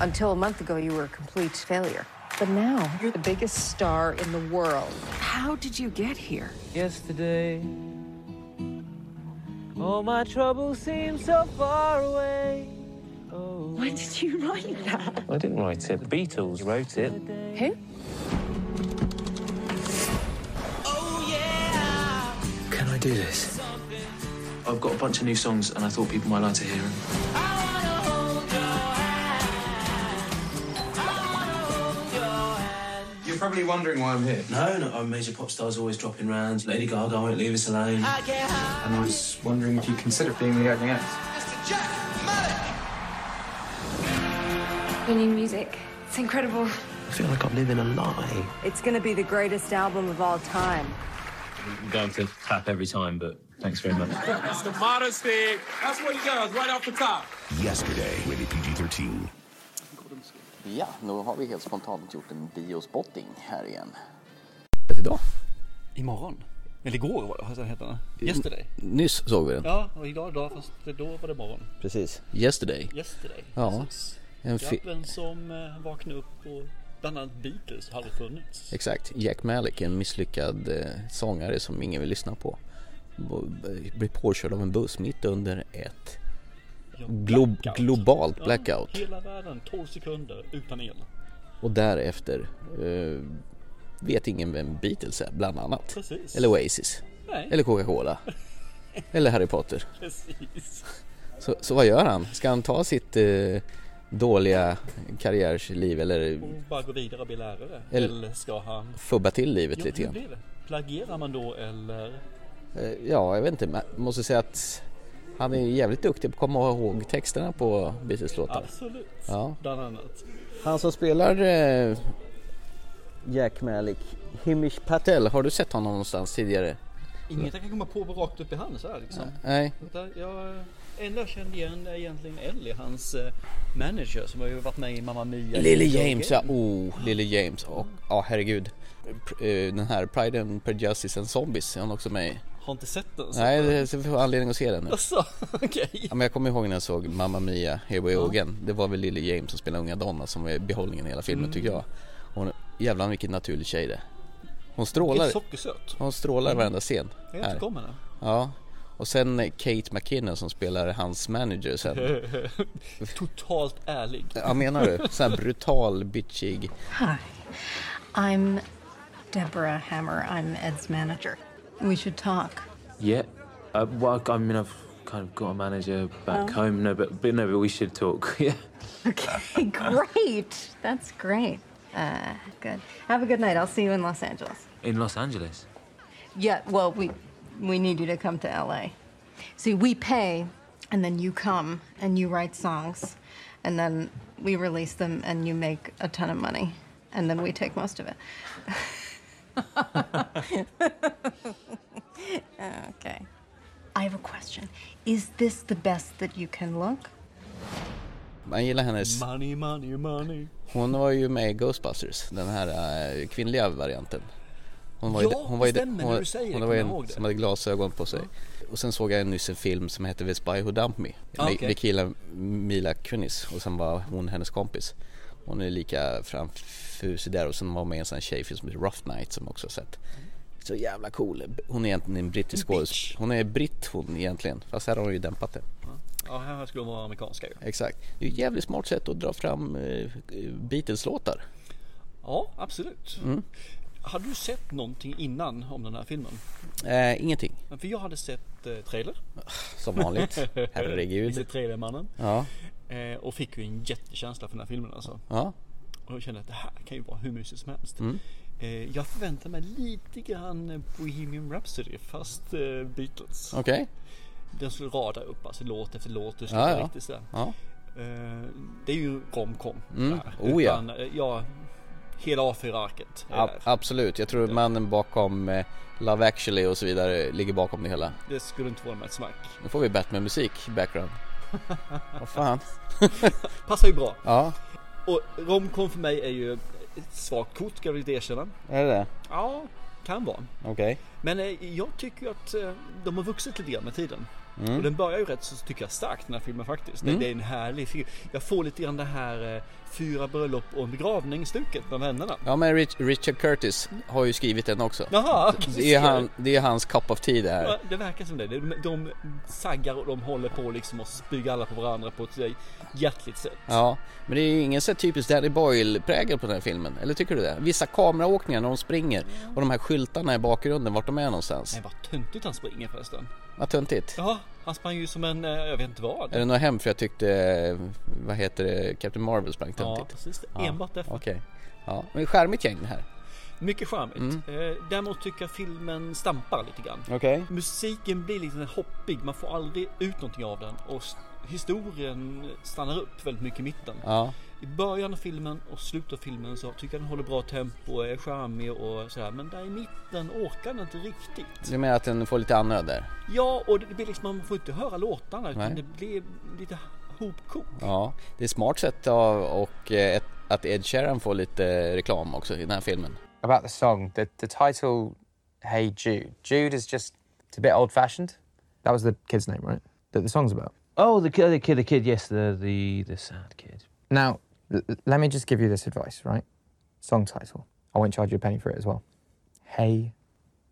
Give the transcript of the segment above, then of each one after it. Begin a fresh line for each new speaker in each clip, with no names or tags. Until a month ago, you were a complete failure. But now, you're the biggest star in the world.
How did you get here?
Yesterday, all my troubles seem so far away. Oh,
Why did you write that?
I didn't write it. The Beatles wrote it.
Who?
Can I do this? I've got a bunch of new songs, and I thought people might like to hear them.
You're probably wondering why I'm here.
No, no, our major pop stars always dropping rounds. Lady Gaga won't leave us alone.
And I was wondering if you consider being the opening act.
Your new music. It's incredible.
I feel like I'm living a lie.
It's going to be the greatest album of all time.
I'm going to clap every time, but thanks very much.
That's the modesty. That's what he does right off the top.
Yesterday, rated PG 13.
Ja, nu har vi helt spontant gjort en biospotting här igen.
Idag?
Imorgon? Eller igår var det, alltså, heter den. Yesterday.
Nyss såg vi den.
Ja, och idag idag, fast då var det morgon.
Precis. Yesterday.
Yesterday.
Ja.
Precis.
En fi-
Grappen som eh, vaknade upp och bland annat Beatles hade funnits.
Exakt. Jack Malik, en misslyckad eh, sångare som ingen vill lyssna på, b- blir påkörd av en buss mitt under ett
Ja,
glo-
blackout.
globalt blackout.
Ja, hela världen, 12 sekunder utan el.
och därefter eh, vet ingen vem Beatles är, bland annat.
Precis.
Eller Oasis.
Nej.
Eller Coca-Cola. Eller Harry Potter.
Precis.
Så, så vad gör han? Ska han ta sitt eh, dåliga karriärsliv eller
Och bara gå vidare och bli lärare.
Eller-
Eller, ska han...
fubba till livet
Ja,
lite
hur
grann?
blir det? Plagierar man då eller?
Eh, Ja, jag vet inte. men Jag måste säga att han är jävligt duktig på att komma ihåg texterna på Beatles-låtar.
Absolut.
Ja.
Bland annat.
Han som spelar eh, Jack Malik, Himish Patel, har du sett honom någonstans tidigare?
Inget jag kan komma på rakt upp i handen så här liksom.
Nej.
Där, jag, eh, enda jag kände igen är egentligen Ellie, hans eh, manager som har ju varit med i Mamma Mia.
Lille James, ja. Oh, Lille James. Och, ja, herregud. Pr- eh, Den här Pride and Prejudice and Zombies är han också med i.
Har inte sett den. så-
Nej, det- så vi får anledning att se den nu.
Alltså, okej.
Ja, men jag kommer ihåg när jag såg Mamma Mia, Here We Go Again. Det var väl Lily James som spelade unga Donna som är behållningen i hela filmen tycker jag. Hon, jävlar vilken naturlig tjej det är. Hon strålar,
Vilket sockersöt.
hon strålar i varenda scen.
Jag
här.
återkommer nu.
Ja. Och sen eh, Kate McKinnon som spelar hans manager sen.
Totalt ärlig.
Ja menar du? Sån här brutal, bitchig.
Hi. I'm Deborah Hammer. I'm Ed's manager. We should talk.
Yeah. Uh, well, I mean, I've kind of got a manager back home. No, but, but no, but we should talk. Yeah.
Okay, great. That's great. Uh, good. Have a good night. I'll see you in Los Angeles.
In Los Angeles.
Yeah, well, we we need you to come to LA. See, we pay, and then you come and you write songs, and then we release them, and you make a ton of money, and then we take most of it. okay. I have a question. Is this the best that you can look?
Man gillar hennes.
Money, money, money.
Hon var ju med i Ghostbusters, den här eh, kvinnliga varianten. Hon var ju,
Ja,
hon var ju,
det stämmer
hon,
när du säger det,
hon var ju en
kommer jag ihåg det.
som hade glasögon på sig. Och sen såg jag nyss en film som hette The Spy Who Dumped Me.
Ah,
med,
okej.
med killen Mila Kunis och sen var hon hennes kompis. Hon är lika framfusig där och sen var hon med i en sån här tjejfilm som heter Rough Night som jag också har sett. Så jävla cool. Hon är egentligen en brittisk
En
skådis.
bitch.
Hon är britt hon egentligen. Fast här har hon ju dämpat det.
Ja, här skulle de vara amerikanska ju.
Exakt. Det är ju ett jävligt smart sätt att dra fram eh, Beatles-låtar.
Ja, absolut.
Mm.
Hade du sett någonting innan om den här filmen?
Eh, ingenting.
För jag hade sett eh, trailer.
Som vanligt.
Visste
Herregud.
trailermannen.
Ja.
Eh, och fick ju en jättekänsla för den här filmen alltså.
ja.
Och jag kände att det här kan ju vara hur mysigt som helst.
Mm.
Eh, jag förväntar mig lite grann Bohemian Rhapsody fast eh, Beatles.
Okej.
Den skulle rada upp alltså låt efter låt. Det skulle
Ja,
vara
ja.
riktigt sådär.
Ja.
Eh, det är ju romcom.
Mm.
där.
Oh, ja.
Utan, eh, ja. Hela A4-arket. är
A-
där.
absolut. Jag tror mannen bakom eh, Love actually och så vidare ligger bakom det hela.
Det skulle inte vara med ett snack.
Nu får vi Batman-musik i background. Vad fan.
Passar ju bra.
Ja,
Och romcom för mig är ju ett svagt kort ska jag väl erkänna.
är det det?
Ja, kan vara.
Okej.
Men eh, jag tycker ju att eh, de har vuxit lite grann med tiden. Och
Mm.
den börjar ju rätt så tycker jag starkt den här filmen faktiskt. Det, det är en härlig film. Jag får lite grann det här eh, fyra bröllop och en begravning stuket med vännerna.
Ja men Rich, Richard Curtis har ju skrivit den också.
Jaha,
Det är, han, det är hans cup of tea det
Ja,
här.
det verkar som det. De, de saggar och de håller på liksom och spyr alla på varandra på ett eh, hjärtligt sätt.
Ja, men det är ju ingen så här typisk Danny Boyle-prägel på den här filmen. Eller tycker du det? Vissa kameraåkningar när de springer och de här skyltarna i bakgrunden vart de är någonstans.
Nej vad töntigt han springer förresten.
Vad töntigt.
Ja, han sprang ju som en, eh, jag vet inte vad.
Är det något hem för jag tyckte, vad heter det, Captain Marvel sprang
Ja,
töntigt?
precis. Enbart därför.
Okej. Ja, men charmigt gäng det här.
Mycket charmigt.
Mm.
Eh, däremot tycker jag filmen stampar lite grann.
Okej.
Musiken blir lite hoppig, man får aldrig ut någonting av den och s- historien stannar upp väldigt mycket i mitten.
Ja.
I början av filmen och slutet av filmen så tycker jag den håller bra tempo, är charmig och sådär. Men där i mitten orkar den inte riktigt.
Du menar att den får lite annöd där?
Ja, och det blir liksom, man får inte höra låtarna utan
Nej.
det blir lite hopkok.
Ja. Det är ett smart sätt av, och eh, ett, att Ed Sheeran får lite reklam också i den här filmen.
About the song, the, the title, Hey Jude. Jude is just, it's a bit old fashioned. That was the kid's name, right? That the song's about.
Oh, the kid, the kid, the kid. Yes, the the the sad kid.
Now, l- l- let me just give you this advice, right? Song title. I won't charge you a penny for it as well. Hey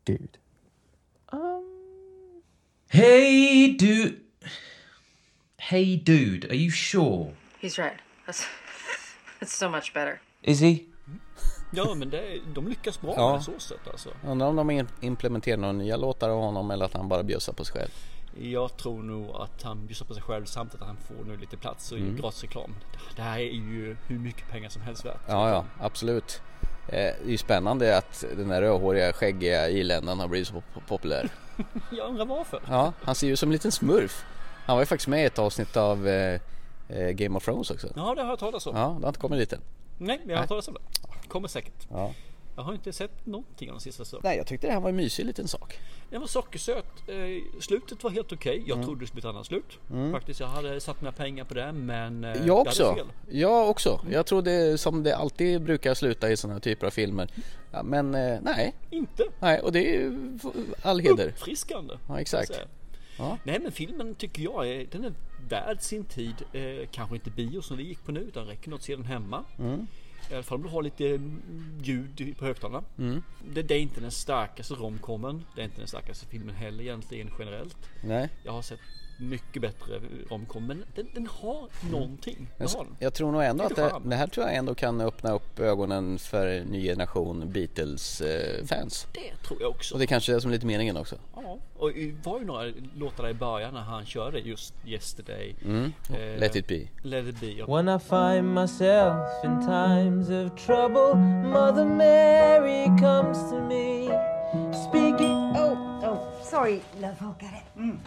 Dude.
Hey, dude. Hey, dude. Are you sure?
He's right. That's, that's so much better.
Is he?
Ja, men det, de lyckas bra
Ja.
med så sätt alltså.
Undrar om de in- implementerar några nya låtar av honom eller att han bara bjussar på sig själv.
Jag tror nog att han bjussar på sig själv samt att han får nu lite plats
Mm.
och gratisreklam. Det här är ju hur mycket pengar som helst värt.
Ja, ja, absolut. Eh, det är ju spännande att den där rödhåriga skäggiga irländaren har blivit så pop- populär.
Jag undrar varför.
Ja, han ser ju ut som en liten smurf. Han var ju faktiskt med i ett avsnitt av eh, eh, Game of Thrones också.
Ja, det har jag talat om.
Ja, det har inte kommit dit än.
Nej, men jag har talat om det. Kommer säkert.
Ja.
Jag har inte sett någonting av den sista säsongen.
Nej, jag tyckte det här var en mysig liten sak.
Den var sockersöt. Eh, slutet var helt okej.
Mm.
Jag trodde det skulle bli ett annat slut. Faktiskt, jag hade satt mina pengar på det, men... eh, jag
Jag
hade
också.
fel.
Jag också. Jag trodde som det alltid brukar sluta i sådana här typer av filmer. Ja, men eh, nej,
Inte.
nej, och det är ju f- all heder.
Uppfriskande.
Ja, exakt.
kan jag säga.
Ja.
Nej men filmen tycker jag är, den är värd sin tid. Eh, kanske inte bio som vi gick på nu utan räcker nog att se den hemma.
Mm.
I alla fall om du har lite mm, ljud på högtalarna.
Mm.
Det, det är inte den starkaste romcomen. Det är inte den starkaste filmen heller egentligen generellt.
Nej.
Jag har sett mycket bättre romcom men den, den har någonting. Den har den.
Mm. Jag tror nog ändå att
Lite
det,
charm.
det här tror jag ändå kan öppna upp ögonen för en ny generation Beatles-fans.
Det tror jag också.
Och det kanske är det som är lite meningen också.
Ja, och det var ju några låtar där i början när han körde just Yesterday. Eh,
Mm. Let it be.
Let it be. och-
When I find myself in times of trouble, Mother Mary comes to me, speaking.
Oh, oh, sorry, love. I'll get it.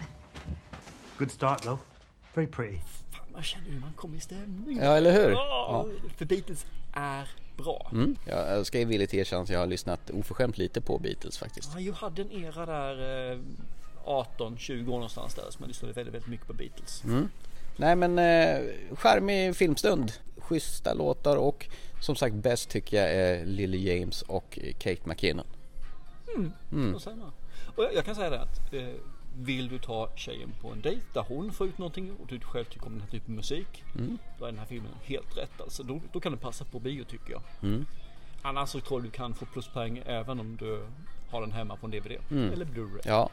Good start though. Very pretty.
Fan, man känner hur man kommer i stämning.
Ja, eller hur? Mm.
Ja. För Beatles är bra.
Ja, jag ska ju villigt erkänna att jag har lyssnat oförskämt lite på Beatles faktiskt.
Han ju hade en era där eh, 18-20 år någonstans där som man lyssnade väldigt, väldigt mycket på Beatles.
Nej men eh, charmig filmstund. Schyssta låtar och som sagt bäst tycker jag är Lily James och Kate McKinnon.
Och, sen, ja. och jag, jag kan säga det att eh, vill du ta tjejen på en dejt där hon får ut någonting och du själv tycker om den här typen av musik.
Mm.
Då är den här filmen helt rätt alltså. Då, då kan du passa på bio tycker jag.
Mm.
Annars så tror jag du kan få pluspoäng även om du har den hemma på en DVD. Eller Blu-ray.
Mm. Ja.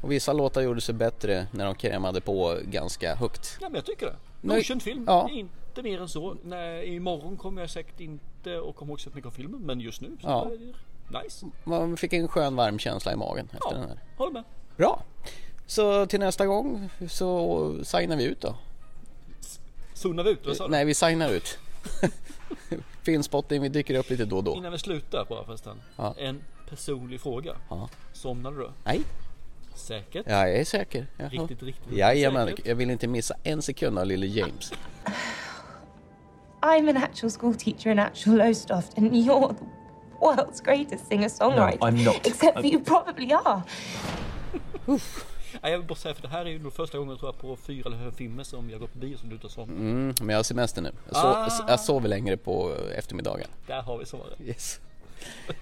Och vissa låtar gjorde sig bättre när de krämade på ganska högt.
Nej men jag tycker det.
Nej.
Godkänd film.
Ja.
Inte mer än så. Nej, imorgon kommer jag säkert inte och kommer också att mycket av filmen. Men just nu så
Ja.
är det nice.
Man fick en skön varm känsla i magen efter
Ja,
den här.
håller med.
Bra! Så till nästa gång så signar vi ut då.
Zonar vi ut? Vad sa du?
Nej vi signar ut. Filmspotting, vi dyker upp lite då och då.
Innan vi slutar bara förresten. En personlig fråga.
Ja.
Somnade du?
Nej,
Säkert?
jag är säker. Jaha.
Riktigt, riktigt
Jajamän,
säkert.
jag vill inte missa en sekund av Lily James.
I'm an actual school teacher in actual Lowestoft, and you're the world's greatest singer-songwriter.
No, I'm not. Uh,
Except that you probably are.
Nej, jag vill bara säga för det här är ju nog första gången tror jag på fyra eller fem filmer som jag går på bio som du tar som.
Mm, Men jag har semester nu. Jag, sov, jag sover längre på eh, eftermiddagen.
Där har vi svaret.
Yes.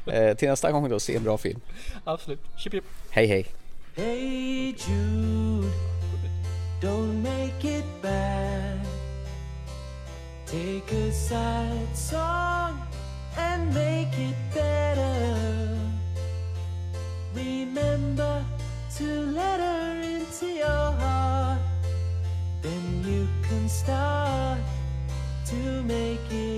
eh, till nästa gång då, se en bra film.
Absolut. Chip, chip.
Hej hej!
Hey Jude, Don't make it bad. Take a sad song and make it better. Remember to let her into your heart. Then you can start to make it.